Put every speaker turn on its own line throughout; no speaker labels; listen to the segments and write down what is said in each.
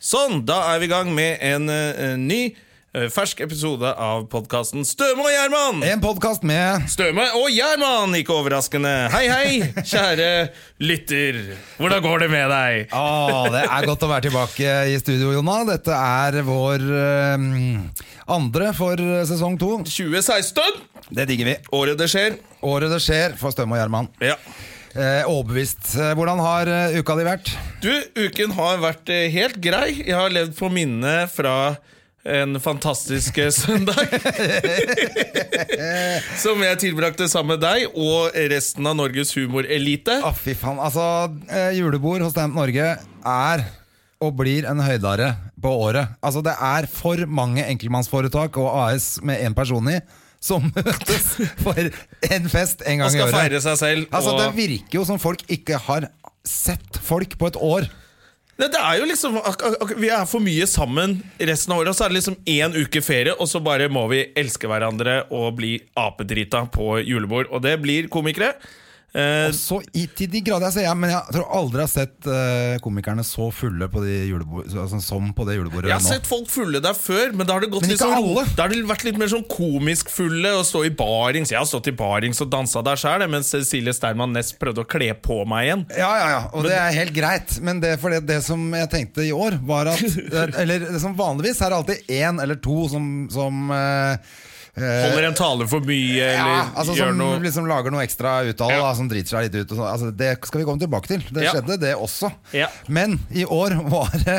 Sånn, da er vi i gang med en eh, ny, eh, fersk episode av podkasten Støme og Gjerman!
En podkast med
Støme og Gjerman, ikke overraskende. Hei, hei, kjære lytter. Hvordan går det med deg?
Å, Ah, det er godt å være tilbake i studio, Jonna. Dette er vår eh, andre for eh, sesong to.
2016,
Det digger vi.
året det skjer.
Året det skjer for Støm og Gjerman.
Ja.
Eh, overbevist. Eh, Hvordan har eh, uka di vært?
Du, uken har vært eh, helt grei. Jeg har levd på minnet fra en fantastisk eh, søndag. Som jeg tilbrakte sammen med deg og resten av Norges humorelite.
Å, fy faen. Altså, eh, julebord hos Stamp Norge er og blir en høydare på året. Altså, det er for mange enkeltmannsforetak og AS med én person i som møtes for en fest en
Og
gang i
skal
året.
feire seg selv.
Altså,
og...
det virker jo som folk ikke har sett folk på et år.
Nei, Det er jo liksom ak ak ak- Vi er for mye sammen resten av året, og så er det liksom én uke ferie, og så bare må vi elske hverandre og bli apedrita på julebord. Og det blir komikere. Eh,
Så i, til de grader jeg ser, ja, men jeg tror aldri jeg har sett eh, komikerne så fulle på de julebord, altså, som på det julebordet
jeg har
nå.
sett folk fulle der før, men da har det gått
Men
litt
ikke
sånn-
alle.
Da har det vært litt mer sånn komisk fulle og stå i barings. Jeg har stått i barings og dansa der sjøl, mens Cecilie Sterman Næss prøvde å kle på meg igjen.
Ja, ja, ja, og det er helt greit, men det, for det, det som jeg tenkte i år, var at eh, Eller det som vanligvis er det alltid én eller to som, som eh, eh,
Holder en tale for mye, eller
ja, altså
gjør
som
noe
liksom lager noe ekstra ut av det,
Ja.
da, som driter seg litt ut. Og sånn. altså, det skal vi komme tilbake til. Det
Ja.
skjedde, det også.
Ja.
Men i år var det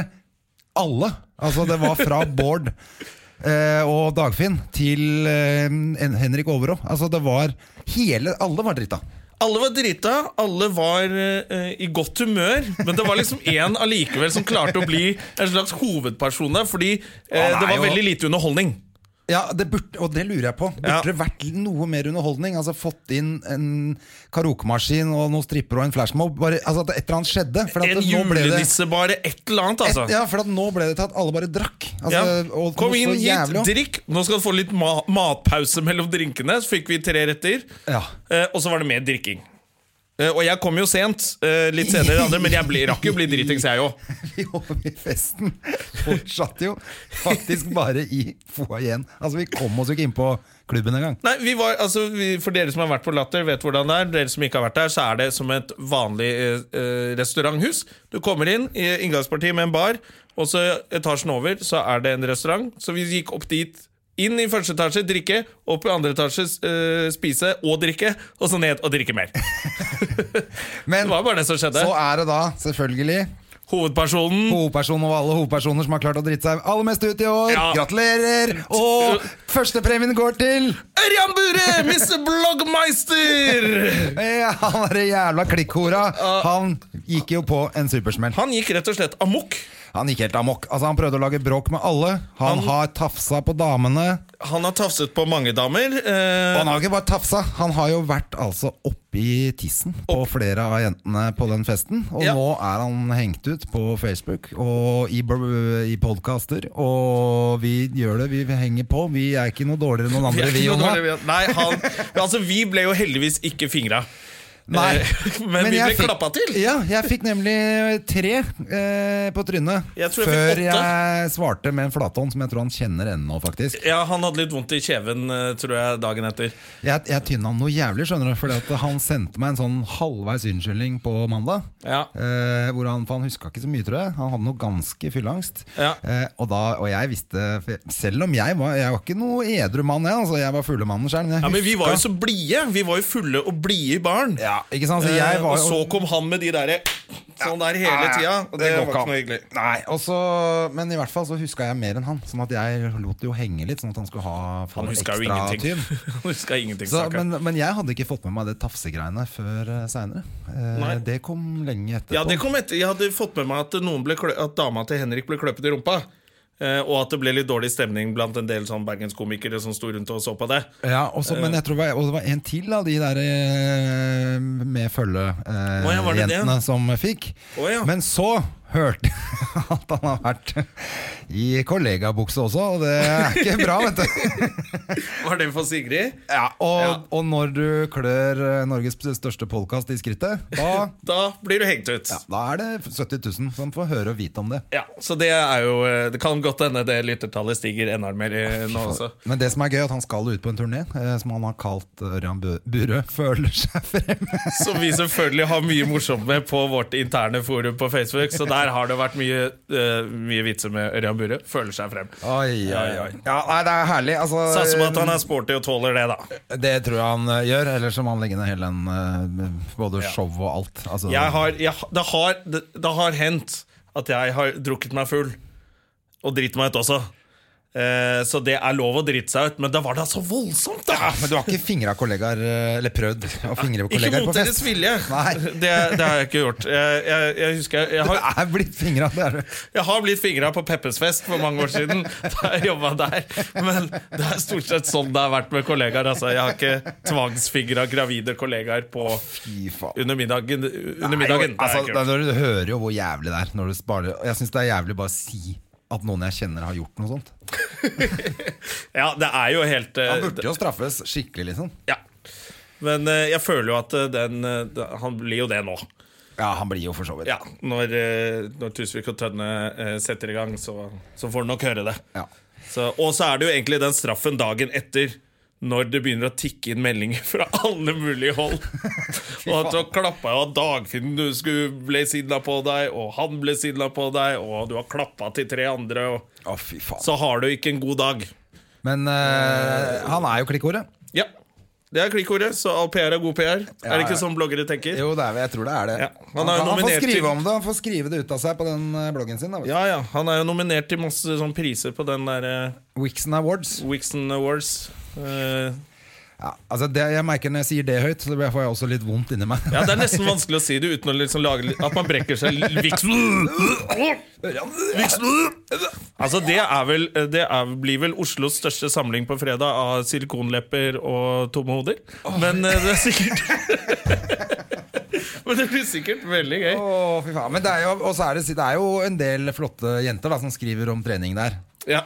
alle. Altså, det var fra Bård eh, og Dagfinn til eh, en- Henrik Overå. Altså, det var hele Alle var drita.
Alle var drita, alle var eh, i godt humør, men det var liksom én allikevel som klarte å bli en slags hovedperson der, fordi eh,
Han er
det var
jo-
veldig lite underholdning.
Ja, det burde, og det lurer jeg på. Burde
Ja.
det vært noe mer underholdning? Altså Fått inn en karaokemaskin og noen strippere og en flashmob? Bare, altså at et eller annet skjedde. For at
En
nå ble det-
julenisse, bare. Et eller annet, altså.
Et, ja, for at nå ble det til at alle bare drakk. Altså,
Ja.
og,
Kom
noe
inn
så
hit,
jævlig også.
drikk. Nå skal du få litt ma matpause mellom drinkene. Så fikk vi tre retter,
Ja.
eh, og så var det mer drikking. Eh, og jeg kom jo sent, eh, litt senere enn andre, men jeg ble, rakk jo å bli dritings, jeg òg.
Jo, vi festen fortsatte jo faktisk bare i foajeen. Altså, vi kom oss jo ikke inn på klubben engang.
Nei, vi var, altså, vi, For dere som har vært på Latter, vet hvordan det er. Dere som ikke har vært der, så er det som et vanlig eh, eh, restauranthus. Du kommer inn i inngangspartiet med en bar, og så etasjen over så er det en restaurant. Så vi gikk opp dit. Inn i første etasje, drikke. Opp i andre etasje, eh, spise og drikke. Og så ned og drikke mer. Det
Men
var bare det som skjedde.
så er det da selvfølgelig
Hovedpersonen
hovedpersonen og alle hovedpersoner som har klart å drite seg aller mest ut i år.
Ja.
Gratulerer! Og førstepremien går til
Ørjan Bure! Mr. Blogmeister!
ja, Han derre jævla klikkhora. Han gikk jo på en supersmell.
Han gikk rett og slett amok.
Han gikk helt amok. Altså, han prøvde å lage bråk med alle. Han har tafsa på damene.
Han har tafset på mange damer. eh,
Og han har jo ikke bare tafsa, han har jo vært altså oppi tissen på flere av jentene på den festen. Og
Ja.
nå er han hengt ut på Facebook og i, br- i podkaster. Og vi gjør det, vi henger på. Vi er ikke noe dårligere enn noen
Vi er
andre, vi,
ikke noe
Jonna.
dårligere, vi- Nei, han, altså, vi ble jo heldigvis ikke fingra.
Nei.
Men, vi ble
jeg fikk-
klappa til.
Ja, jeg fikk nemlig tre eh, på trynet
Jeg tror jeg fikk
før
åtte.
jeg svarte med en flathånd som jeg tror han kjenner ennå, faktisk.
Ja, Han hadde litt vondt i kjeven eh, tror jeg, dagen etter.
Jeg, jeg tynna han noe jævlig, skjønner du. Fordi at han sendte meg en sånn halvveis unnskyldning på mandag.
Ja.
Eh, hvor han, for han huska ikke så mye, tror jeg. Han hadde noe ganske fylleangst.
Ja.
Eh, og, da, og jeg visste for jeg- Selv om jeg var Jeg var ikke noe edru mann, jeg. Altså, jeg var fuglemannen sjøl.
Ja, Men vi var jo så blide! Vi var jo fulle og blide barn.
ja,
Ja.
Ikke sant? Så jeg
Eh,
var
og
jo-
så kom han med de derre sånn der hele
Nei,
tida. Og det,
går
var ikke noe hyggelig.
an. Nei, og så- men i hvert fall så huska jeg mer enn han. Sånn at jeg lot det jo henge litt, sånn at han skulle ha få
Han huska jo
ekstra
ingenting.
tyn.
Han huska ingenting
Så,
stakkar.
men, men jeg hadde ikke fått med meg det tafsegreiene før eh, seinere.
Nei.
Eh, det kom lenge etterpå.
Ja, det kom etter. Jeg hadde fått med meg at, noen ble klø at dama til Henrik ble kløpet i rumpa. Eh, og at det ble litt dårlig stemning blant en del sånn bergenskomikere som sto rundt og så på det.
Ja, og så- men jeg tror det var, og det var en til av de der eh, med
Å ja, var det det?
følgejentene som fikk.
Å ja.
Men så hørte jeg at han har vært i kollegabukse også, og det er ikke bra, vet du.
Var det for Sigrid?
Ja, og,
Ja.
og når du klør eh, Norges største podkast i skrittet, da,
Da blir du hengt ut.
ja, da er det 70 000 som får høre og vite om det.
Ja, Så det er jo eh, Det kan godt hende det lyttertallet stiger enda mer eh, nå også.
Men det som er gøy, er at han skal ut på en turné eh, som han har kalt Ørjan Bu- Burøe føler seg fremme.
Som vi selvfølgelig har mye morsomt med på vårt interne forum på Facebook. Så der har det vært mye, eh, mye vitser med Ørjan Burre. Føler seg frem.
Oi, oi, oi. Ja, nei, det er herlig. Altså,
Satser på at han er sporty og tåler det, da.
Det tror jeg han eh, gjør, ellers så må han legge ned hele den eh, Både show og alt. Altså,
jeg har, jeg, det, har, det, det har hendt at jeg har drukket meg full. Og dritt meg ut også. Eh, så det er lov å drite seg ut, men det var da så voldsomt, da!
Men du har ikke fingra kollegaer, eh, eller prøvd å fingre
Ikke
kollegaer
mot
på
deres
fest?
vilje.
Nei.
Det, det har jeg ikke gjort. Jeg, jeg, jeg husker jeg- jeg
Det
har,
er blitt fingra, det er det.
Jeg har blitt fingra på Peppes fest for mange år siden. Da jeg jobbet der Men det er stort sett sånn det har vært med kollegaer. Altså, jeg har ikke tvangsfingra gravide kollegaer på
Fy faen.
under middagen. Under middagen. Det
altså,
er
da,
kult.
når du hører jo hvor jævlig det er. Når du sparer, og jeg syns det er jævlig bare å si at noen jeg kjenner, har gjort noe sånt.
Ja, det er jo helt eh,
Han burde jo straffes skikkelig, liksom.
ja. Men eh, jeg føler jo at eh, den eh, da- Han blir jo det nå.
Ja, han blir jo for så vidt.
Ja, Når, eh, når Tusvik og Tønne eh, setter i gang, så, så får han nok høre det.
Ja.
Så, og så er det jo egentlig den straffen dagen etter. Når det begynner å tikke inn meldinger fra alle mulige hold. Og at du har klappa og Dagfinn du skulle ble sidla på deg, og han ble sidla på deg, og du har klappa til tre andre, og
Å, fy faen.
så har du ikke en god dag.
Men eh, han er jo klikkordet.
Ja. Det er klikkordet, så all PR er god PR. Er det
ja.
ikke sånn bloggere tenker?
Jo, det er, jeg tror det er det.
Ja.
Han,
Han er jo
kan- han får
nominert til-
skrive om det Han får skrive det ut av seg på den eh, bloggen sin. Da, vet du.
Ja ja. Han er jo nominert til masse sånn priser på den derre
Wixon Awards.
Wixon Awards. Eh,
Ja, altså det, jeg merker Når jeg sier det høyt, så får jeg også litt vondt inni meg.
ja, det er nesten vanskelig å si det uten å liksom lage litt- at man brekker seg. Wixon Altså det, er vel, det er, blir vel Oslos største samling på fredag av silikonlepper og tomme hoder. Men eh, det er sikkert Men det blir sikkert veldig gøy.
Å, fy faen. Men det er jo, og så er det, det er jo en del flotte jenter da, som skriver om trening der.
Ja.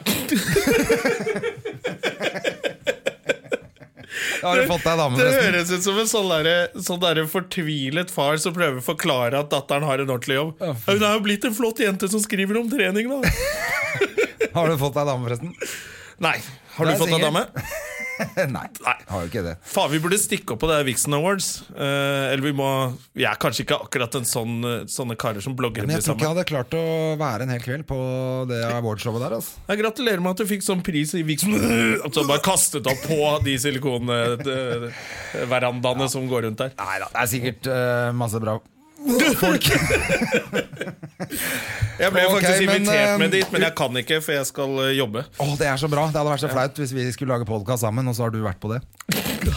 Har du fått deg dame,
Det
forresten?
høres ut som en sånn, derre- sånn derre fortvilet far som prøver å forklare at datteren har en ordentlig jobb.
Ja,
Hun er jo blitt en flott jente som skriver om trening, da.
Har du fått deg dame, forresten?
Nei. Har
Det
du
er
fått deg
sikkert.
dame?
Nei.
Nei.
Har jo ikke det.
Faen, vi burde stikke opp på det her Vixen Awards. Eh, eller vi må Vi er kanskje ikke akkurat en sånn, eh, sånne karer som blogger
Men
blir
jeg tror ikke
sammen.
jeg hadde klart å være en hel kveld på det awardshowet der. Altså.
Jeg gratulerer med at du fikk sånn pris i Vixen At du bare kastet opp på de silikonverandaene som går rundt der.
Nei da, det er sikkert eh, masse bra folk.
Jeg ble
Ok,
faktisk
men,
invitert
eh,
med dit, men jeg kan ikke, for jeg skal eh, jobbe.
Å, det er så bra. Det hadde vært så flaut hvis vi skulle lage podkast sammen, og så har du vært på det.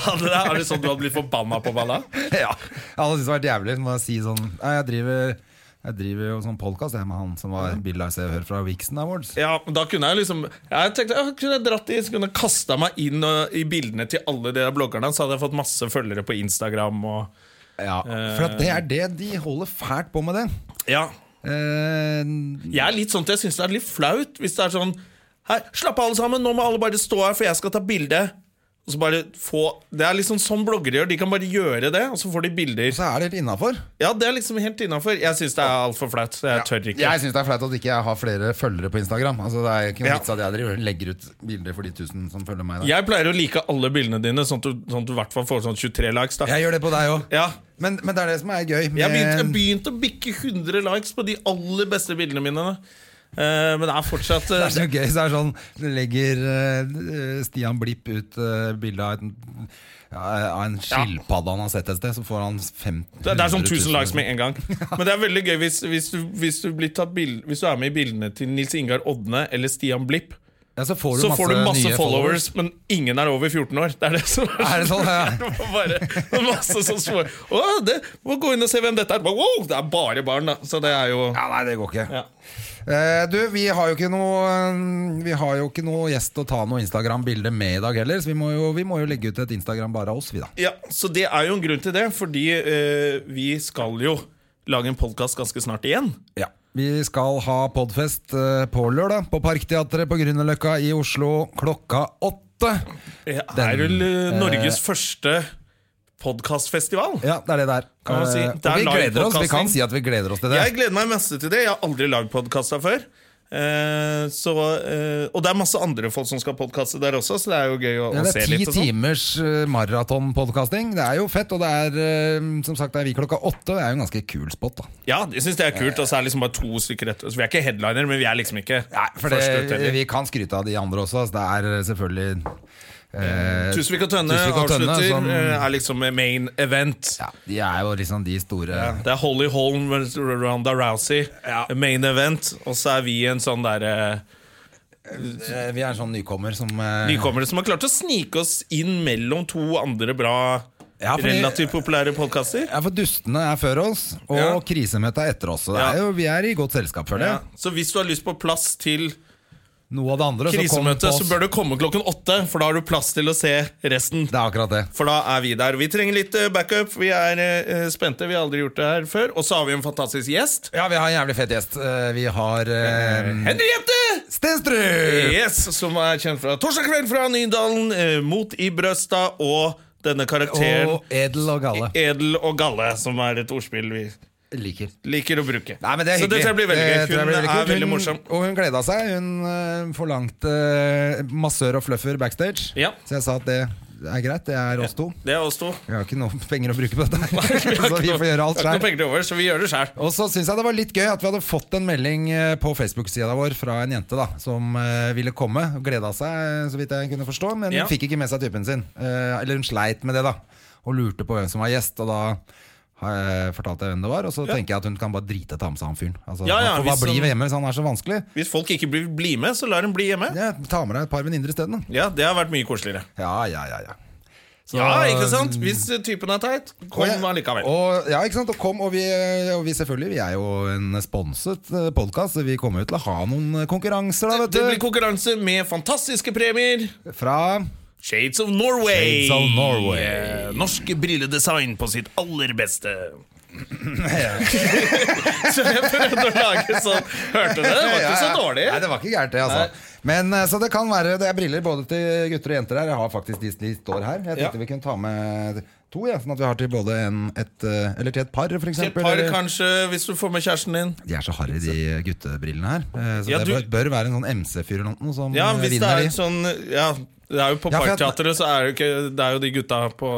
Hadde det- Er det sånn du hadde blitt forbanna på meg da?
Ja, jeg hadde syntes det vært jævlig å si sånn «Nei, Jeg driver, jeg driver jo sånn podkast med han som var Bill Ice jeg hører fra Vixen Awards.
Ja, men da kunne jeg liksom Jeg tenkte, jeg kunne jeg dratt i, så kunne jeg kasta meg inn og, i bildene til alle de der bloggerne, så hadde jeg fått masse følgere på Instagram og
Ja, For at det er det de holder fælt på med det.
Ja.
Eh,
Jeg er litt sånn at jeg syns det er litt flaut hvis det er sånn Hei, slapp av, alle sammen. Nå må alle bare stå her, for jeg skal ta bilde. Og så bare få Det er liksom sånn bloggere gjør. De kan bare gjøre det, og så får de bilder.
så er det helt innafor.
Ja, det er liksom helt innafor. Jeg syns det er altfor flaut. så Jeg tør ikke.
Jeg syns det er flaut at ikke jeg har flere følgere på Instagram. Altså Det er ikke noe
Ja.
vits at jeg driver, legger ut bilder for de tusen som følger meg. Der.
Jeg pleier å like alle bildene dine, sånn at du, sånn at du i hvert fall får sånn 23 likes. da
Jeg gjør det på deg òg.
Ja
Men, men det er det som er gøy.
jeg
med-
begynte, jeg begynte å bikke 100 likes på de aller beste bildene mine. da. Eh, men det er fortsatt eh,
Det er så gøy. Så er det sånn, det legger eh, Stian Blipp ut uh, bilde av, et- ja, av en skilpadde han har sett et sted, så får han 50
Det, det er sånn 1000 likes med en gang. Men det er veldig gøy hvis, hvis, du, hvis, du, blir tatt bild, hvis du er med i bildene til Nils Ingar Odne eller Stian Blipp.
Ja, så får du
Så
masse,
får du masse
nye
followers, men ingen er over 14 år. Det er det som er,
Er det sånn, ja?
Det var bare masse sånn små Å, det, må gå inn og se hvem dette er. Wow, det er bare barn, da. Så det er jo
Ja, nei, det går ikke.
Ja.
Eh, du, vi har jo ikke noe eh, Vi har jo ikke noe gjest å ta noe Instagram-bilde med i dag heller, så vi må jo, vi må jo legge ut et Instagram bare av oss, vi, da.
Ja, så det er jo en grunn til det, fordi eh, vi skal jo lage en podkast ganske snart igjen.
Ja. Vi skal ha podfest eh, på lørdag, på Parkteatret på Grünerløkka i Oslo klokka åtte.
Det
Den,
er vel eh, Norges første podkastfestival.
Ja, det er det der.
Kan man si.
Eh,
Det
og
er
vi gleder oss. Vi
live-podcasting.
kan si at vi gleder oss til det.
Jeg gleder meg masse til det. Jeg har aldri lagd podkaster før. Eh, så, eh, og det er masse andre folk som skal podkaste der også, så det er jo gøy å,
Ja,
å
det
se
er ti
litt. og sånn.
timers eh, maratonpodkasting. Det er jo fett, og det er eh, som sagt det er vi klokka åtte. Det er jo en ganske kul spot, da.
Ja, jeg synes det er kult. Og så er det liksom bare to stykker etter. Så vi er ikke headliner, men vi er liksom ikke
for
første ut
det,
heller.
vi kan skryte av de andre også. Så det er selvfølgelig eh,
Tusvik og Tønne
Tusvik og Tønne
avslutter.
som-
eh, er liksom main event.
ja, De er jo liksom de store
Det er Holly Holm versus Ronda Rousey. Main event. Og så er vi en sånn derre
Eh, Vi er en sånn nykommer som eh,
nykommere som har klart å snike oss inn mellom to andre bra,
Ja, fordi-
relativt populære podkaster.
Ja, for Dustene er før oss, og
Ja.
krisemøtet er etter oss. Så det
Ja.
er jo, vi er i godt selskap, føler jeg.
Så hvis du har lyst på plass til
Noe av det andre så kom
krisemøtet,
på
så
oss.
bør du komme klokken åtte, for da har du plass til å se resten.
Det er akkurat det.
For da er vi der. Vi trenger litt eh, backup. Vi er eh, spente. Vi har aldri gjort det her før. Og så har vi en fantastisk gjest.
Ja, vi har en jævlig fet gjest. Eh, Vi har eh,
Henriette!
Stenstrud!
Yes, som er kjent fra Torsdag kveld fra Nydalen, eh, Mot i brøsta og denne karakteren
Og edel og galle.
Edel og galle, som er et ordspill vi
Liker.
liker å bruke.
Nei, men det er
så
hyggelig.
dette blir veldig gøy.
Det tror jeg
Hun
blir
er
kult.
veldig morsom.
Hun, og hun gleda seg. Hun eh, forlangte eh, massør og fluffer backstage.
Ja.
Så jeg sa at det er greit. Det er oss to.
Det er oss to.
Vi har ikke noe penger å bruke på dette,
Vi har
her, så
ikke
vi
noe-
får gjøre alt
vi har
sjøl.
ikke noe penger til over, så vi gjør det sjæl.
Og så syns jeg det var litt gøy at vi hadde fått en melding eh, på Facebook-sida vår fra en jente da som eh, ville komme. og Gleda seg, eh, så vidt jeg kunne forstå, men
Ja.
hun fikk ikke med seg typen sin. Eh, Eller hun sleit med det, da. Og lurte på hvem som var gjest. Og da eh, fortalte jeg hvem det var, og så tenker jeg at hun kan bare drite i å ta med seg han fyren. Altså,
Ja, ja,
han får
hvis
bare bli
han-
ved hjemme hvis han er så vanskelig.
Hvis folk ikke blir, blir med, så lar dem bli hjemme.
Ja, ta med deg et par venninner isteden. da.
Ja, Det har vært mye koseligere.
Ja, ja, ja, ja. Så-
Ja, ikke sant? Hvis eh, typen er teit,
Og
kom
jeg-
allikevel.
Og, ja, ikke sant? Og kom, og vi, og vi selvfølgelig, vi er jo en sponset podkast, så vi kommer jo til å ha noen eh, konkurranser, da,
Det blir
vet du.
konkurranse med fantastiske premier.
Fra
Shades of Norway.
Shades of Norway.
Eh, Norsk brilledesign på sitt aller beste. så jeg prøvde å lage sånn. Hørte du det? Det var ikke så dårlig.
Nei, det var ikke gærent, det, altså. Men eh, så det kan være Det er briller både til gutter og jenter her. Jeg har faktisk de, de står her. Jeg tenkte
Ja.
vi kunne ta med to, ja, sånn at vi har til både en, et eh, Eller til et par, for
Til et
eksempel.
par,
eller-
kanskje, hvis du får med kjæresten din.
De er så harry, de guttebrillene her. Eh, Så
Ja,
det
du-
bør, bør være en sånn MC-fyr eller noe som
Ja,
eh,
hvis det
vinner
er
de.
et sånn Ja, det er jo på
Ja, for jeg-
Parkteatret, så er det jo ikke Det er jo de gutta på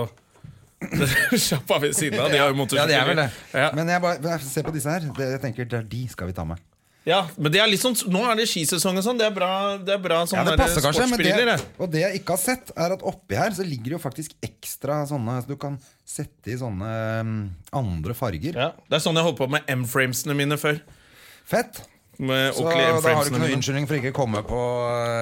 sjappa ved siden av. De har jo
Ja, det er vel det.
motorsykler. Ja.
Men jeg bare, jeg- se på disse her. Det, jeg tenker, det er de skal vi ta med.
Ja, men det er litt sånn, nå er det skisesong og sånn. Det er bra, det er bra sånn
Ja, det passer kanskje, men
sportsbriller.
det,
det.
og det jeg ikke har sett, er at oppi her så ligger det jo faktisk ekstra sånne så Du kan sette i sånne mm, andre farger.
Ja, det er sånn jeg holdt på med M-framesene mine før.
Fett!
Med
Så da
Oakley
har du
M-framesene
ikke noen
mine.
unnskyldning for ikke å komme på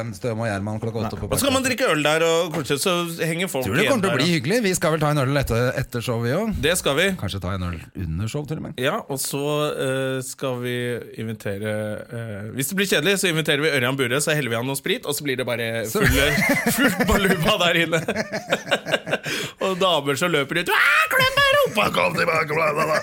eh, Støme og Gjerman klokka åtte. på
Og så kan man
Parkteatret.
drikke øl der, og kanskje så henger folk
Tror du det kommer til å
der,
bli
ja.
hyggelig? Vi skal vel ta en øl etter, etter show, vi òg.
Det skal vi.
Kanskje ta en øl under show, til og med.
Ja, og så eh, skal vi invitere eh, Hvis det blir kjedelig, så inviterer vi Ørjan Bure, så heller vi han noe sprit, og så blir det bare
Så-
full, fullt baluba der inne. og damer som løper ut «Ah, Klem meg i rumpa, kom tilbake, bla, bla, bla.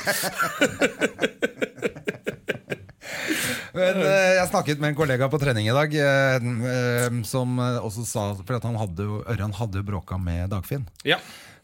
Men eh, jeg snakket med en kollega på trening i dag, eh, eh, som eh, også sa For at han hadde jo, Ørjan hadde jo bråka med Dagfinn.
Ja.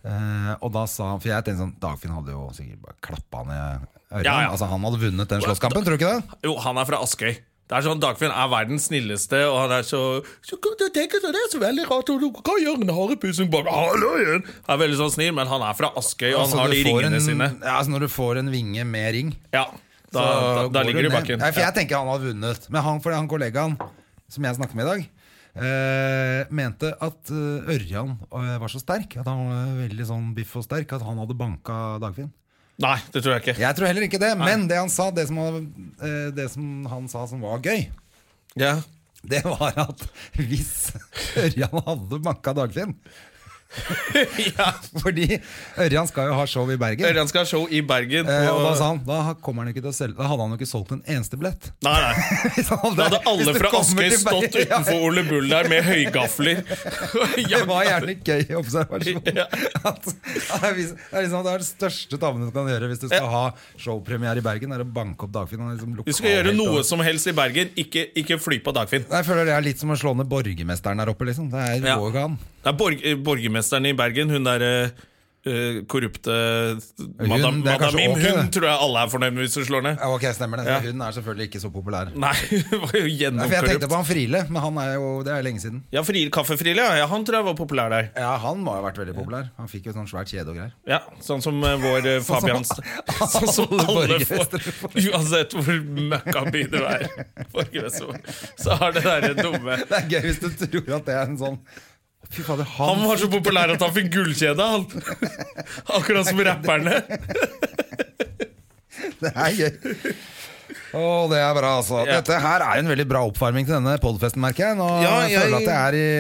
Eh, og da sa han, for jeg tenkte sånn Dagfinn hadde jo sikkert bare klappa ned Ørjan.
Ja, ja.
Altså Han hadde vunnet den slåsskampen, tror du ikke det?
Jo, han er fra Askøy. Det er sånn, Dagfinn er verdens snilleste, og han er så, så kan du tenke deg, Det er så veldig rart, og du kan gjøre en harepussing bak Hallo igjen! Han er veldig sånn snill, men han er fra Askøy, og han
Altså,
har
du
de
får
ringene
en,
sine.
Ja, altså Når du får en vinge med ring
Ja. Da, da, da
går
ligger du i
ned.
bakken.
Nei, for jeg tenker han hadde vunnet. Men han, for han kollegaen som jeg snakker med i dag, eh, mente at eh, Ørjan eh, var så sterk, at han var veldig sånn biff og sterk, at han hadde banka Dagfinn.
Nei, det tror jeg ikke.
Jeg tror heller ikke det, men det han sa, det som, han- eh, det som han sa som var gøy,
Ja.
det var at hvis Ørjan hadde banka Dagfinn
ja.
Fordi Ørjan skal jo ha show i Bergen.
Ørjan skal ha show i Bergen.
Eh, og da
og-
sa han da, kommer han jo ikke til å selge, da hadde han jo ikke solgt en eneste billett.
Nei, nei.
Hvis han
Da hadde
hvis
alle
du
fra
kommer
Askøy
til Bergen-
stått utenfor Ole Bull der med høygafler.
Det var gjerne en gøy observasjon.
Ja.
At, at det, er liksom, det er liksom det er det største tabben du kan gjøre hvis du skal ha showpremiere i Bergen. Er å banke opp Dagfinn. Han er Liksom
Du skal gjøre noe som helst i Bergen, ikke, ikke fly på Dagfinn.
jeg føler det er litt som å slå ned borgermesteren der oppe. liksom Det er
Ja.
går jo ikke an.
Det er borg, eh, borgermesteren i Bergen, hun der eh, korrupte madam,
det er kanskje
Madamim,
ok,
hun
det.
tror jeg alle er fornøyd med hvis du slår ned.
Ja, ok, stemmer det.
Ja.
Hun er selvfølgelig ikke så populær.
Nei, hun var
Nei, for
jo
jeg tenkte
gjennomkorrupt.
på han Friele, men han er jo, det er lenge siden.
Ja, Friel, Kaffefrile, ja. ja, han tror jeg var populær der.
Ja, Han må ha vært veldig populær. Han fikk jo sånn svært kjede og greier.
Ja, Sånn som eh, vår eh, Fabian Sånn som
alle
alle får.
borgermestere
Uansett hvor møkkaby du er, borgermester, så har det derre dumme
Det er gøy hvis du tror at det er en sånn Fy fader, han,
Han var så populær at han fikk gullkjede, han! Akkurat som rapperne.
Det er gøy. Å, det er bra, altså.
Ja.
Dette her er en veldig bra oppvarming til denne podfesten, merker jeg. Nå
Ja,
jeg... føler jeg
jeg-
at jeg er, i,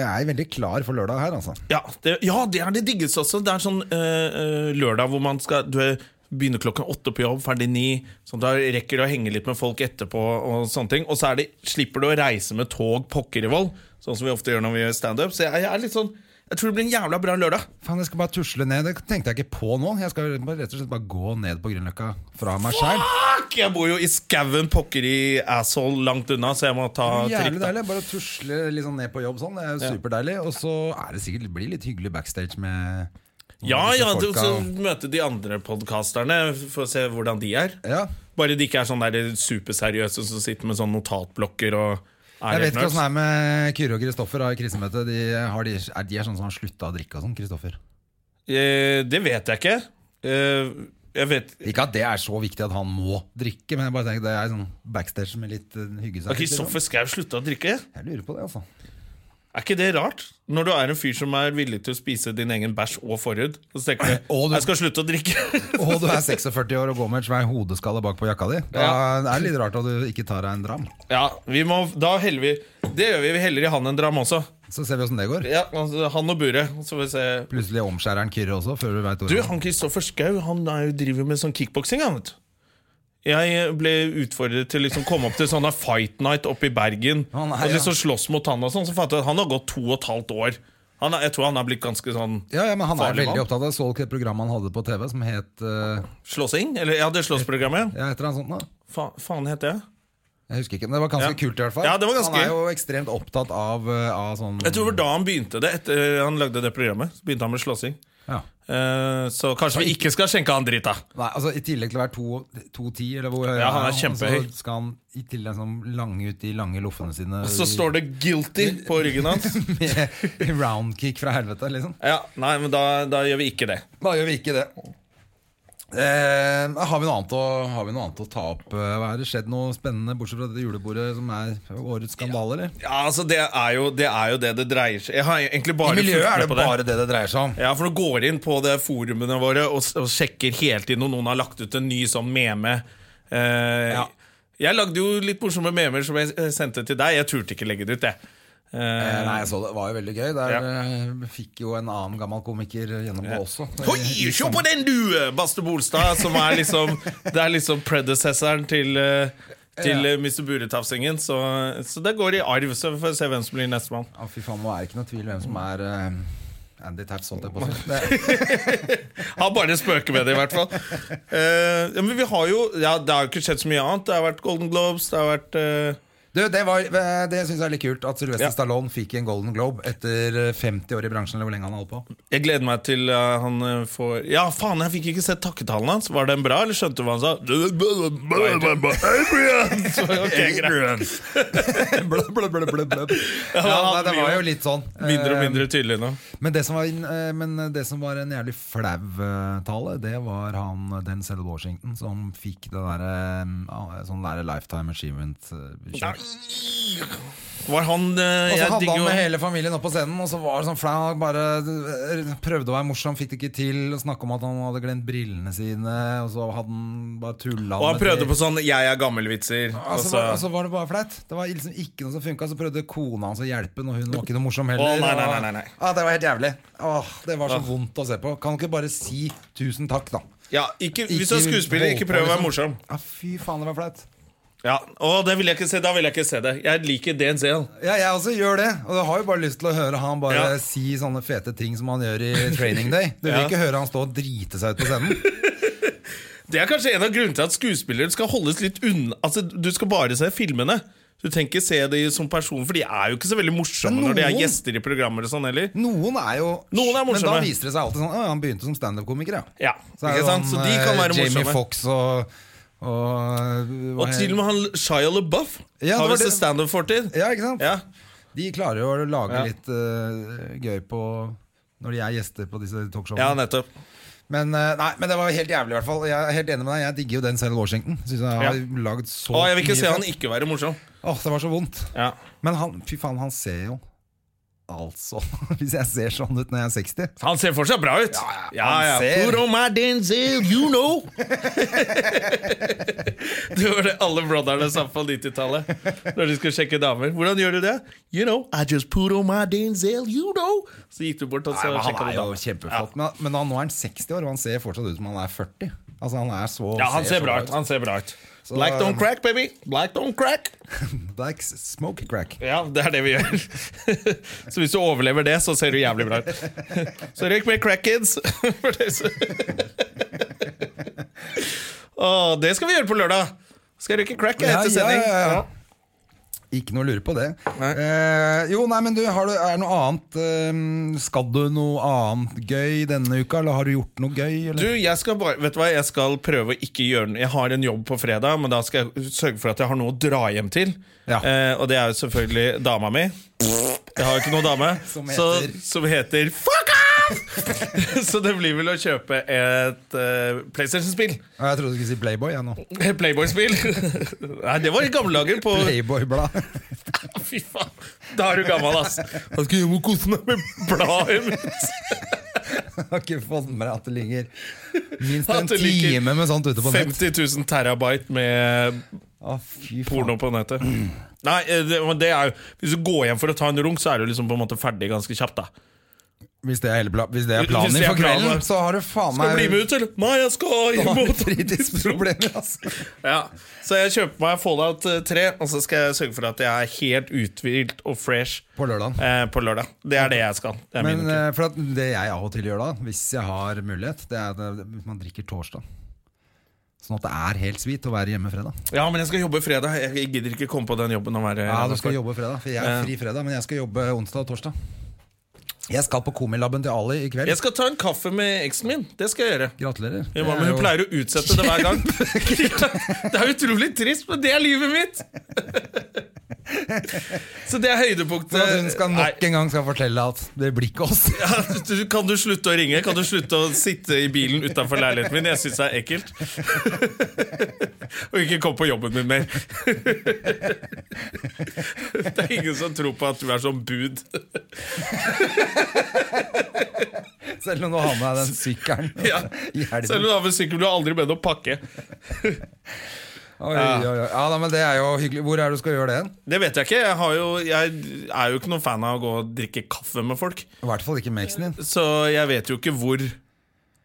jeg er veldig klar for lørdag her, altså.
Ja, det, ja, det er det diggeste også. Det er sånn eh, eh, lørdag hvor man skal Du er- begynner klokken åtte på jobb, ferdig ni. Sånn at du rekker å henge litt med folk etterpå. Og sånne ting Og så er det, slipper du å reise med tog pokker i vold, sånn som vi ofte gjør når vi gjør standup. Så jeg, jeg er litt sånn Jeg tror det blir en jævla bra lørdag.
Faen, jeg skal bare tusle ned. Det tenkte jeg ikke på nå. Jeg skal bare- rett og slett bare gå ned på Grünerløkka fra meg sjæl.
Fuck! Jeg bor jo i skauen pokker i asshole langt unna, så jeg må ta trikk.
Jævlig
da
deilig. Bare å tusle litt sånn ned på jobb sånn. Det er jo superdeilig. Og så er det sikkert det blir litt hyggelig backstage med
Ja,
disse
ja, du,
folka.
så møte de andre podkasterne for å se hvordan de er.
ja.
Bare de ikke er sånn der superseriøse som sitter med sånn notatblokker og er
Jeg
helt
vet ikke
nerds.
åssen det er med Kyrre og Kristoffer da, i krisemøtet. De, har de, er de er sånn som har slutta å drikke og sånn, Kristoffer.
Eh, det vet jeg ikke. Eh, jeg vet
Ikke at det er så viktig at han må drikke, men jeg bare tenker det er sånn backstage med litt uh, hyggesak.
Har Kristoffer Schau slutta å drikke?
liksom. Jeg lurer på det, altså.
Er ikke det rart? Når du er en fyr som er villig til å spise din egen bæsj og forhud, og så tenker du
Og du-
jeg skal slutte å drikke.
Og du er 46 år og går med et svær hodeskalle bak på jakka di. Da
Ja.
er det litt rart at du ikke tar deg en dram.
ja, vi må, da heller vi Det gjør vi. Vi heller i han enn Dram også.
Så ser vi åssen det går.
Ja, altså, han og buret. Så får vi se.
Plutselig omskjærer han Kyrre også, før du veit
Du,
ordet.
han Kristoffer Schau han er jo driver med sånn kickboksing. han, vet du. Jeg ble utfordret til å liksom komme opp til sånne Fight Night oppe i Bergen.
Han er-
og liksom slåss mot han og sånn. Så fant jeg at han har gått to og et halvt år. Han er, jeg tror han har blitt ganske sånn
Ja, ja, men han er
Farlig
veldig
mann.
opptatt av Så dere det programmet han hadde på TV som het eh,
slåssing. Eller ja, det slåssprogrammet.
Ja, heter han sånt nå?
Fa, faen heter det?
Jeg husker ikke, men det var ganske
Ja.
kult i hvert fall.
Ja, det var ganske
Han er jo ekstremt opptatt av, eh, av sånn
Jeg tror det var da han begynte det. Etter han lagde det programmet. Så begynte han med slåssing.
ja.
Eh, så kanskje vi ikke skal skjenke han dritt, da.
Nei, altså I tillegg til å være to- 2,10, eller hvor høy
Ja, han er kjempehøy.
Så skal han i tillegg liksom lange ut de lange loffene sine.
Så står det 'guilty' på ryggen hans.
Med roundkick fra helvete, liksom.
Ja, Nei, men da, da gjør vi ikke det.
Da gjør vi ikke det. Eh, har, vi noe annet å, har vi noe annet å ta opp? Eh, Hva er det skjedd noe spennende bortsett fra dette julebordet som er årets skandale, eller?
Ja, altså Det er jo det er jo det, det dreier seg Jeg har egentlig bare
I miljøet
fulgt med
er det
på
bare det det dreier seg om.
Ja, for du går inn på det forumene våre og, s- og sjekker hele tiden om noen har lagt ut en ny sånn meme. Eh,
Ja.
Jeg lagde jo litt morsomme memer som jeg eh, sendte til deg. Jeg turte ikke legge det ut, jeg. Eh,
Eh, Nei, jeg så det. det var jo veldig gøy. Der
Ja.
eh, fikk jo en annen gammel komiker eh, gjennom det også.
Hoi,
liksom.
se på den du, Baste Bolstad! Som er liksom Det er liksom predecessoren til eh, til eh, Mr. Buretafsingen. Så, så det går i arv. Så vi får se hvem som blir nestemann.
Ja, fy faen, nå er det ikke noe tvil hvem som er eh, Andy Taps, holdt jeg på å si. Det-
Han bare spøker med det, i hvert fall. Eh, ja, men vi har jo ja, Det har jo ikke skjedd så mye annet. Det har vært Golden Globes, det har vært eh,
Du, det var, eh, det syns jeg er litt kult at Sylvester
Ja.
Stallone fikk en Golden Globe etter eh, 50 år i bransjen. Eller hvor lenge han holdt på
Jeg gleder meg til eh, han eh, får Ja, faen, jeg fikk ikke sett takketalen hans. Var den bra, eller skjønte du hva han sa? Adrian! Så, ok, greit.
Blub, blub, blub, blub, blub. Ja, nei, det var jo litt sånn.
Mindre og
Eh,
mindre tydelig nå.
Men det, som var, en- eh, men det som var en jævlig flau eh, tale, det var han eh, Denzel Washington som fikk det derre eh, sånn derre Lifetime Achievement. eh, kjør.
Var han eh,
Og så
Jeg
hadde
digger
han
jo
med hele familien opp på scenen, og så var det sånn flau. Han bare eh, prøvde å være morsom, fikk det ikke til. Og snakka om at han hadde glemt brillene sine, og så hadde han bare tulla.
Og han
med
prøvde
det.
på sånn 'jeg er gammel'-vitser.
Og så Altså,
Altså-
var, og så var det bare flaut. Det var liksom ikke noe som funka. Så prøvde kona hans å hjelpe, og hun var ikke noe morsom heller.
Å, nei, nei,
og-
nei, nei, Ah. nei.
Ah, det var helt jævlig. Åh, det var så vondt å se på. Kan du ikke bare si tusen takk, da?
ja, ikke, hvis du er
Ikke
skuespiller,
holde
ikke
på,
prøv å være
liksom.
morsom.
Ja, fy faen, det var flaut.
Ja, og det vil jeg ikke se, Da vil jeg ikke se det. Jeg liker DNC-en.
Ja, jeg også gjør det. Og jeg har jo bare lyst til å høre han bare
Ja.
si sånne fete ting som han gjør i Training Day. Du vil
Ja.
ikke høre han stå og drite seg ut på scenen.
Det er kanskje en av grunnene til at skuespillere skal holdes litt unna. Altså, Du skal bare se filmene. Du trenger ikke se dem som person, for de er jo ikke så veldig morsomme
Men
når de er
noen-
gjester i programmer og sånn heller.
Noen er jo
Noen er
Men da
morsomme.
viser det seg alltid sånn «Å, Han begynte som standup-komiker, ja.
Ja,
Så er
ikke
det
sant?
sånn,
Så de kan være
eh, Jamie
morsomme.
Fox og, og, eh, hva
Og til og
heter-
med han Shia LaBeouf
Ja, det
har
var
visst
det-
en standup-fortid.
Ja, ikke sant?
Ja.
De klarer jo å lage
Ja.
litt eh, gøy på når de er gjester på disse
ja,
talkshowene.
nettopp.
men, eh, nei, men det var helt jævlig, i hvert fall. Jeg er helt enig med deg. Jeg digger jo den selv Washington. Synes jeg har
Ja.
laget så
Å, jeg vil
mye
ikke se han
fett.
ikke være morsom.
Åh, det var så vondt.
Ja.
Men han, fy faen, han ser jo Altså, hvis jeg ser sånn ut når jeg er 60
Han ser fortsatt bra ut.
ja,
Ja,
han
ja.
ser-
Put on my Denzel, you know! det var det alle brotherne sa på 90-tallet når de skulle sjekke damer. Hvordan gjør du det? You know, I just put on my Denzel, you know! Så gikk du bort og så
Nei, men Han
sjekka
er
du
jo
damer.
kjempeflott. Men, men han, nå er han 60 år, og han ser fortsatt ut som han er 40. Altså Han er så
Ja, han ser
så
bra ut. Han ser bra ut.
Så-
Black don't crack, baby. Black don't crack.
Like smoke crack.
Ja, det er det vi gjør. så hvis du overlever det, så ser du jævlig bra ut. så røyk mer crack kids. For det så- Åh, det skal vi gjøre på lørdag. Skal jeg røyke crack jeg,
Ja,
etter
ja,
sending?
ja, ja. Ikke noe å lure på det.
Nei.
Eh, jo, nei, men du, har du, er det noe annet eh, Skal du noe annet gøy denne uka, eller har du gjort noe gøy? Eller?
Du, jeg skal bare, vet du hva, jeg skal prøve å ikke gjøre noe. Jeg har en jobb på fredag, men da skal jeg sørge for at jeg har noe å dra hjem til.
Ja.
Eh, og det er jo selvfølgelig dama mi. Jeg har jo ikke noen dame.
Som
så,
heter-
som heter Fuck off! så det blir vel å kjøpe et eh, PlayStation-spill.
Ah, Jeg trodde du skulle si Playboy. Jeg, nå.
Playboy-spill. Nei, det var i gamle dager på
Playboy-blad.
Fy faen, da er du gammel, ass. Jeg skal hjem og kose meg med bladet mitt.
Jeg har ikke fått med meg at det ligger minst
At
en
det ligger
time med sånt ute på nett.
50 000 terabyte med
Å, fy faen.
porno på nettet. Nei, eh, det, men det er jo Hvis du går hjem for å ta en runk, så er du liksom på en måte ferdig ganske kjapt, da.
Hvis det er, hele pla- hvis det er
Hvis
planen
det er
for kvelden,
planen.
så har du faen
Skal
meg
du bli med ut, eller? Nei, jeg skal
Da
hjem
har
og
du fritidsproblemer, altså.
ja. Så jeg kjøper meg Fallout eh, 3, og så skal jeg sørge for at jeg er helt uthvilt og fresh
På lørdagen.
eh, på lørdag. Det er det jeg skal. Det er
Men
min uke.
eh, for at det jeg av og til gjør da, hvis jeg har mulighet, det er at eh, man drikker torsdag. Sånn at det er helt sweet å være hjemme fredag.
Ja, men jeg skal jobbe fredag. Jeg gidder ikke komme på den jobben. Å være
Ja, du skal jobbe fredag, for jeg
Ja.
er fri fredag, men jeg skal jobbe onsdag og torsdag. Jeg skal på Komilaben til Ali i kveld.
Jeg skal ta en kaffe med eksen min. Det skal jeg gjøre.
Gratulerer.
Ja, men hun pleier å utsette det hver gang. det er utrolig trist, men det er livet mitt! Så det er høydepunktet.
For at hun skal nok en gang skal fortelle at det blir ikke oss.
Ja, du, kan du slutte å ringe? Kan du slutte å sitte i bilen utenfor leiligheten min? Jeg syns det er ekkelt. Og ikke kom på jobben min mer. Det er ingen som tror på at du er sånn bud.
Selv om du har med deg den sykkelen
Ja.
i
Selv om
helgen.
du har med sykkel, du har aldri med deg å pakke.
Oi, oi, oi. Ja, da, men det er jo hyggelig. Hvor er det du skal gjøre det hen?
Det vet jeg ikke. Jeg, har jo, jeg er jo ikke noen fan av å gå og drikke kaffe med folk.
I hvert fall ikke med eksen din.
Så jeg vet jo ikke hvor det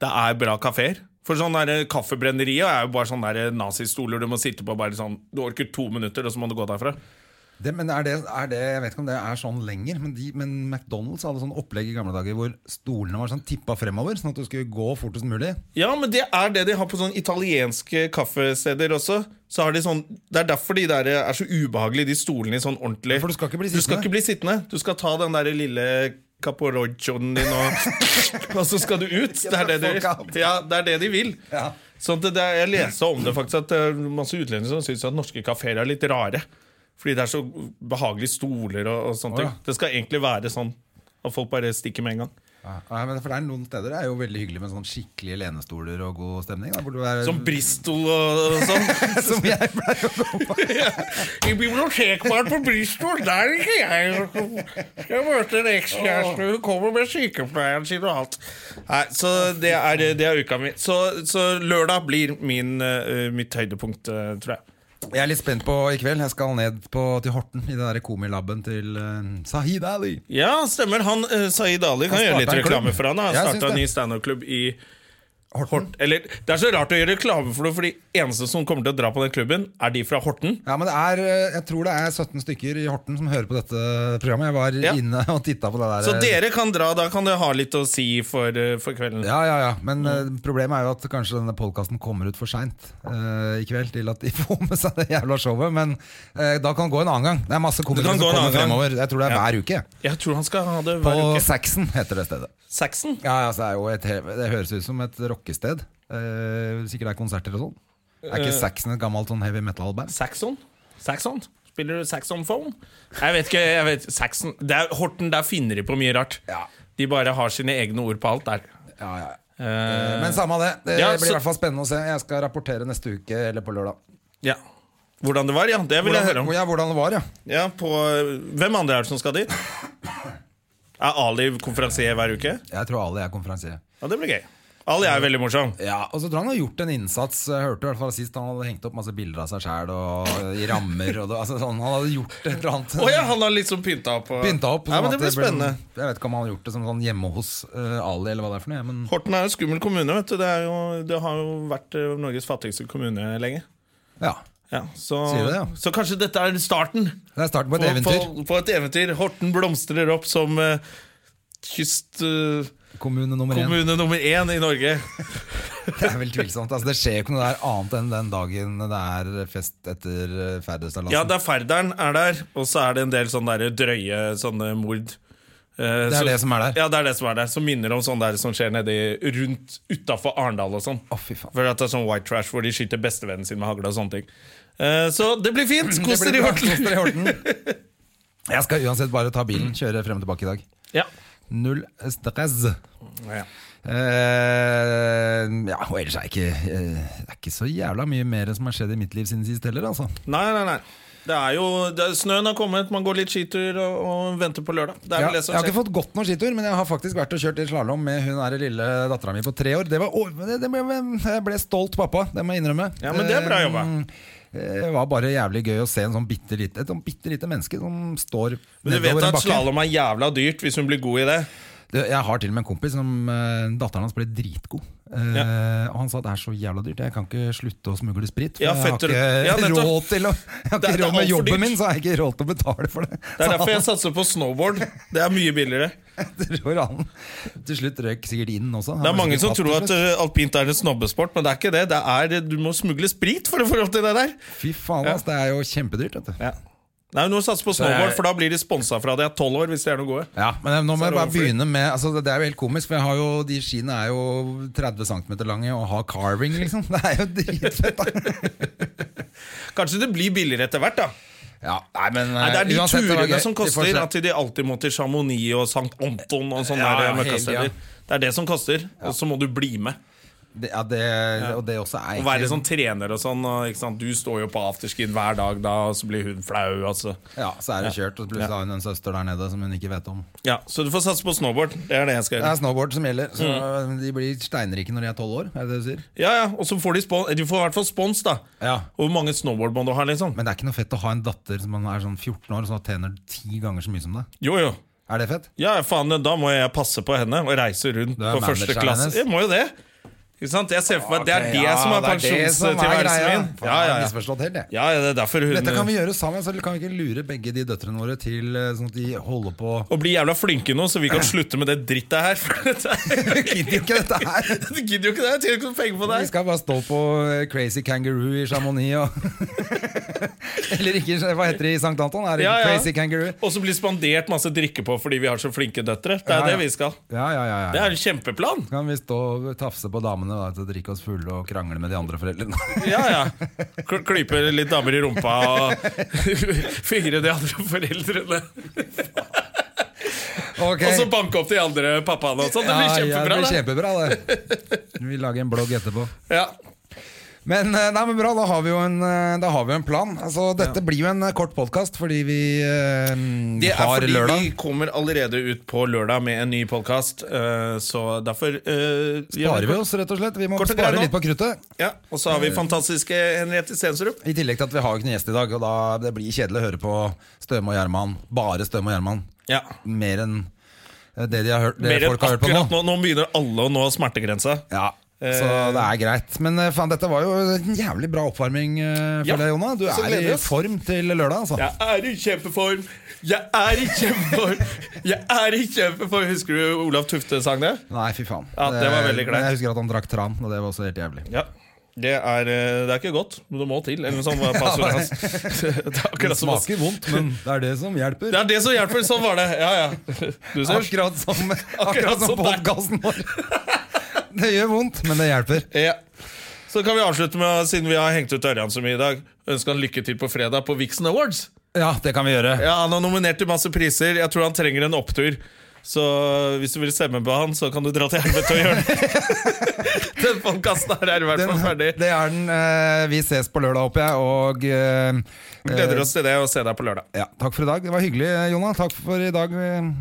er bra kafeer. For sånn der eh, sånn, Kaffebrenneriet er jo bare sånne der nazistoler du må sitte på. bare sånn, Du orker to minutter, og så må du gå derfra.
Det, men er det, er det, jeg vet ikke om det er sånn lenger, men, de, men McDonald's hadde sånn opplegg i gamle dager hvor stolene var sånn tippa fremover, sånn at du skulle gå fortest mulig.
Ja, men det er det de har på sånne italienske kaffesteder også. Så har de sånn, det er derfor de der er så ubehagelige, de stolene i sånn ordentlig.
For du skal ikke bli
Du skal
sittende.
ikke bli sittende. Du skal ta den der lille caporoccioen din, og, og så skal du ut. Det er det de,
Fuck out.
ja, det er det de vil.
Ja.
Sånn at det, det- jeg leste om det faktisk, at det er masse utlendinger som syns at norske kafeer er litt rare. Fordi det er så behagelige stoler og, og sånne
Å, ja.
ting. Det skal egentlig være sånn at folk bare stikker med en gang.
Ja, men for det er noen steder det er jo veldig hyggelig med sånn skikkelige lenestoler og god stemning. Da, hvor du er,
Som Bristol og, og sånn.
som jeg pleier å gå på.
I bibliotekbaren på Bristol, der er ikke jeg. Jeg møter en ekskjæreste, hun kommer med sykepleieren sin og alt. Nei, så det er, det er uka mi. Så, så lørdag blir min, eh, mitt høydepunkt, eh, tror jeg.
Jeg er litt spent på i kveld. Jeg skal ned på, til Horten, i den der komilaben til eh, Sahid Ali.
Ja, stemmer. Han eh, Saeed Ali kan
Han
gjøre litt
startet en
reklame
klubb.
for han. Han
Jeg
starta
syns
en
det.
ny standup-klubb i
Horten.
Eller, det er så rart å gjøre reklame for det, for de eneste som kommer til å dra på den klubben, er de fra Horten.
Ja, men det er, eh, Jeg tror det er 17 stykker i Horten som hører på dette programmet. Jeg var
Ja.
inne og titta på det der. eh,
Så dere kan dra, da kan dere ha litt å si for, eh, for kvelden.
Ja, ja, ja. Men eh, problemet er jo at kanskje denne podkasten kommer ut for seint i kveld til at de får med seg det jævla showet. Men eh, da kan det gå en annen gang. Det er masse komikere som
kan gå en
kommer
annen gang.
fremover. Jeg tror det er
Ja.
hver uke.
Jeg tror han skal ha det
På
hver uke.
Saxon heter det stedet.
Saxon?
Ja, ja, så er jo et, he- Det høres ut som et rockested. Eh, sikkert det er konserter og sånn. Er ikke Saxon et gammelt sånn heavy metal-band?
Saxon? Saxon? Spiller du saxophone? Jeg vet ikke. jeg vet Saxon det er, Horten, der finner de på mye rart.
Ja.
De bare har sine egne ord på alt der.
Ja, ja.
Eh,
Men samme av det. Det
Ja,
blir
så-
i hvert fall spennende å se. Jeg skal rapportere neste uke eller på lørdag.
ja. Hvordan det var, ja. Det vil jeg høre
Hvordan,
om.
ja, hvordan det var, ja.
Ja, på, eh, hvem andre er det som skal dit? Er Ali konferansier hver uke?
Jeg tror alle er konferansier.
Ja, Det blir gøy. Ali er veldig morsom.
Ja, og så tror jeg han har gjort en innsats. Jeg hørte i hvert fall sist han hadde hengt opp masse bilder av seg sjæl i rammer. Og det, altså, sånn, han hadde gjort et eller annet.
Å ja, han har liksom pynta opp. og-
Pynta opp.
Ja,
sånn
men
at
Det blir
ble
spennende.
Sånn, jeg vet ikke om han har gjort det som sånn hjemme hos eh, Ali, eller hva det er for noe. Men
Horten er en skummel kommune. vet du Det, er jo, det har jo vært eh, Norges fattigste kommune lenge.
ja,
Ja, så,
Sier du det, ja?
så kanskje dette er starten.
det er starten på et
på,
eventyr.
På, på et eventyr. Horten blomstrer opp som eh, kyst... eh,
Kommune nummer én.
Kommune eh, nummer én i Norge.
Altså. Det er vel tvilsomt. Altså, det skjer jo ikke noe der annet enn den dagen det er fest etter eh, ferdigstallasen.
Ja, det er Færderen er der, og så er det en del sånne der drøye sånne mord. Eh,
Det er
så-
det som er der.
Ja, det er det som er der Som minner om sånn der som skjer nedi rundt utafor Arendal og sånn.
Å, fy faen.
For at det er sånn white trash hvor de skyter bestevennen sin med hagle og sånne ting. Eh, så det blir fint! Kos
Det blir bra.
dere i Horten.
Kos dere i Horten. Jeg skal uansett bare ta bilen, kjøre frem og tilbake i dag.
Ja.
Null stress.
Ja.
Eh, ja, og ellers er det ikke, eh, det er ikke så jævla mye mer som har skjedd i mitt liv siden sist heller, altså.
Nei, nei, nei. Det er jo, det er, snøen har kommet, man går litt skitur og, og venter på lørdag. Det er
Ja,
vel det som
jeg har
skjer.
ikke fått gått noen skitur, men jeg har faktisk vært og kjørt litt slalåm med hun her lille dattera mi på tre år. Det var, å, men det, det ble, jeg ble stolt pappa, det må jeg innrømme.
Ja, men det er bra jobba.
Eh, Det var bare jævlig gøy å se en sånn bitte lite, et sånn bitte lite menneske som står
Men du vet
nedover en
at
bakke.
slalåm er jævla dyrt hvis hun blir god i det.
Du, Jeg har til og med en kompis som eh, datteren hans ble dritgod. Eh, Og han sa det er så jævla dyrt, jeg kan ikke slutte å smugle sprit. For
Ja,
jeg har
fetter-
ikke
Ja, nettopp.
råd til å Jeg har
Det er-
ikke
det er
råd med
altfor dyrt.
jobben min, så har jeg ikke råd til å betale for det.
Det er
Så
derfor jeg satser på snowboard. Det er mye billigere.
han, tror han til slutt røyk sikkert inn også. Han
Det er
ble
mange
sikkert
som
tatt til
tror at
slutt.
eh, alpint er en snobbesport, men det er ikke det. det er, du må smugle sprit for å få lov til det der.
Fy faen, ass, det er jo kjempedyrt, vet du.
Nei, Du må satse på snowboard, for da blir de sponsa fra deg er tolv år. hvis de er noe gode
Ja, men nå må jeg
er det
bare
overfor.
begynne med altså Det det er jo helt komisk, for jeg har jo, de skiene er jo 30 cm lange og har carving, liksom. Det er jo dritfett. da.
Kanskje det blir billigere etter hvert, da.
Ja, nei, men, eh,
Nei, det er de
uansett, det var
turene
gøy.
som
Vi får
koster.
se.
At de alltid må til Chamonix og Sankt Anton og sånne
Ja,
der eh,
ja, hele
møkkasteder.
tida.
Det er det som koster, og så må du bli med.
Det, ja, det, Og det også er
Og være sånn trener og sånn. Og, ikke sant? Du står jo på afterskien hver dag, da, og så blir hun flau. Altså.
Ja, så er det kjørt, og plutselig har hun en søster der nede som hun ikke vet om.
Ja, så du får satse på snowboard. Det er det jeg skal
Det
gjøre.
er snowboard som gjelder, så
Mm.
de blir steinrike når de er tolv år, er det det du sier?
Ja, ja, Og så får de spons. Du får i hvert fall spons, da.
Ja.
Og Hvor mange snowboard må du ha, liksom?
Men det er ikke noe fett å ha en datter som man er sånn 14 år, som tjener ti ganger så mye som deg.
Jo, jo.
Er det fett?
Ja, faen, da må jeg passe på henne og reise rundt
Du er
på første
manageren
klasse.
hennes.
Jeg må jo det. Ikke sant? Jeg ser for meg at Det er
Ok,
det
ja,
som er
det er det som er
pensjonstilværelsen
greia.
min.
Faen,
Ja, ja,
jeg har
ja.
misforstått helt, jeg.
ja, ja, det er derfor hun
Dette kan vi gjøre sammen, så kan vi ikke lure begge de døtrene våre til eh, sånn at de holder på
Og bli jævla flinke nå, så vi kan slutte med det drittet her. For dette er-
Gidder jo ikke dette her!
Du gidder jo ikke det, jeg tjener ikke noen penger på
Vi
deg.
skal bare stå på eh, Crazy Kangaroo i Chamonix og Eller ikke, hva heter det i St. Anton? Er det
Ja, ja.
Crazy Kangaroo?
Og så bli spandert masse drikke på fordi vi har så flinke døtre. Det
Ja, ja.
er det vi skal.
Ja, ja, ja,
Det
ja.
er en kjempeplan.
Så kan vi stå og tafse på damene da, til å drikke oss fulle og krangle med de andre foreldrene.
Ja, ja. Kl- Klype litt damer i rumpa og fingre de andre foreldrene.
Ok.
Og så banke opp de andre pappaene og sånn. Det blir
ja,
kjempebra.
det blir
det.
kjempebra, det. Vi lager en blogg etterpå.
Ja.
Men, eh, nei, men bra, da har vi jo en, eh, da har vi jo en plan. Altså, dette blir jo en eh, kort podkast fordi vi eh,
Det er
har
fordi
lørdag.
vi kommer allerede ut på lørdag med en ny podkast, så derfor eh,
Sparer vi oss, rett og slett. Vi må
Kort og greit
spare
nå.
litt på kruttet.
Ja, Og så har vi fantastiske Henriette Stensrup.
I tillegg til at vi har jo ikke noen gjest i dag, og da det blir kjedelig å høre på Støme og Gjerman. Bare Støme og Gjerman.
Ja.
Mer enn eh, det, de har hørt, det
Mer enn
folk har hørt på nå.
akkurat nå. Nå begynner alle å nå smertegrensa.
Ja, så det er greit. Men eh, faen, dette var jo en jævlig bra oppvarming eh, for
Ja,
deg, Jonna. Du
så
er
gleder vi
i
oss.
form til lørdag, altså.
Jeg er i kjempeform! Jeg er i kjempeform! Jeg er i kjempeform! Husker du Olav Tufte sang det?
Nei, fy faen.
Ja, det var veldig
Men Jeg husker at han drakk tran, og det var også helt jævlig.
Ja. Det er, eh, det er ikke godt, men det må til. Eller noe sånt var passordet hans. Det er akkurat som oss.
vondt, men det er det som hjelper.
Det er det som hjelper. Sånn var det. Ja, ja. Du ser.
Akkurat som,
Akkurat
akkurat som
som deg.
podkasten vår. Det gjør vondt, men det hjelper.
Ja. Så kan vi avslutte med, siden vi har hengt ut Ørjan så mye i dag, ønske han lykke til på fredag på Vixen Awards.
Ja, det kan vi gjøre.
Ja, Han har nominert til masse priser. Jeg tror han trenger en opptur. Så hvis du vil stemme på han, så kan du dra til helvete og gjøre det. Den podkasten her er i hvert
Den,
fall ferdig.
det er den. eh, Vi ses på lørdag, håper jeg. Og eh,
Gleder oss til det, og se deg på lørdag.
ja, takk for i dag. Det var hyggelig, eh, Jonna. Takk for i dag. eh,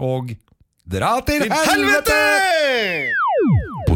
Og dra til helvete!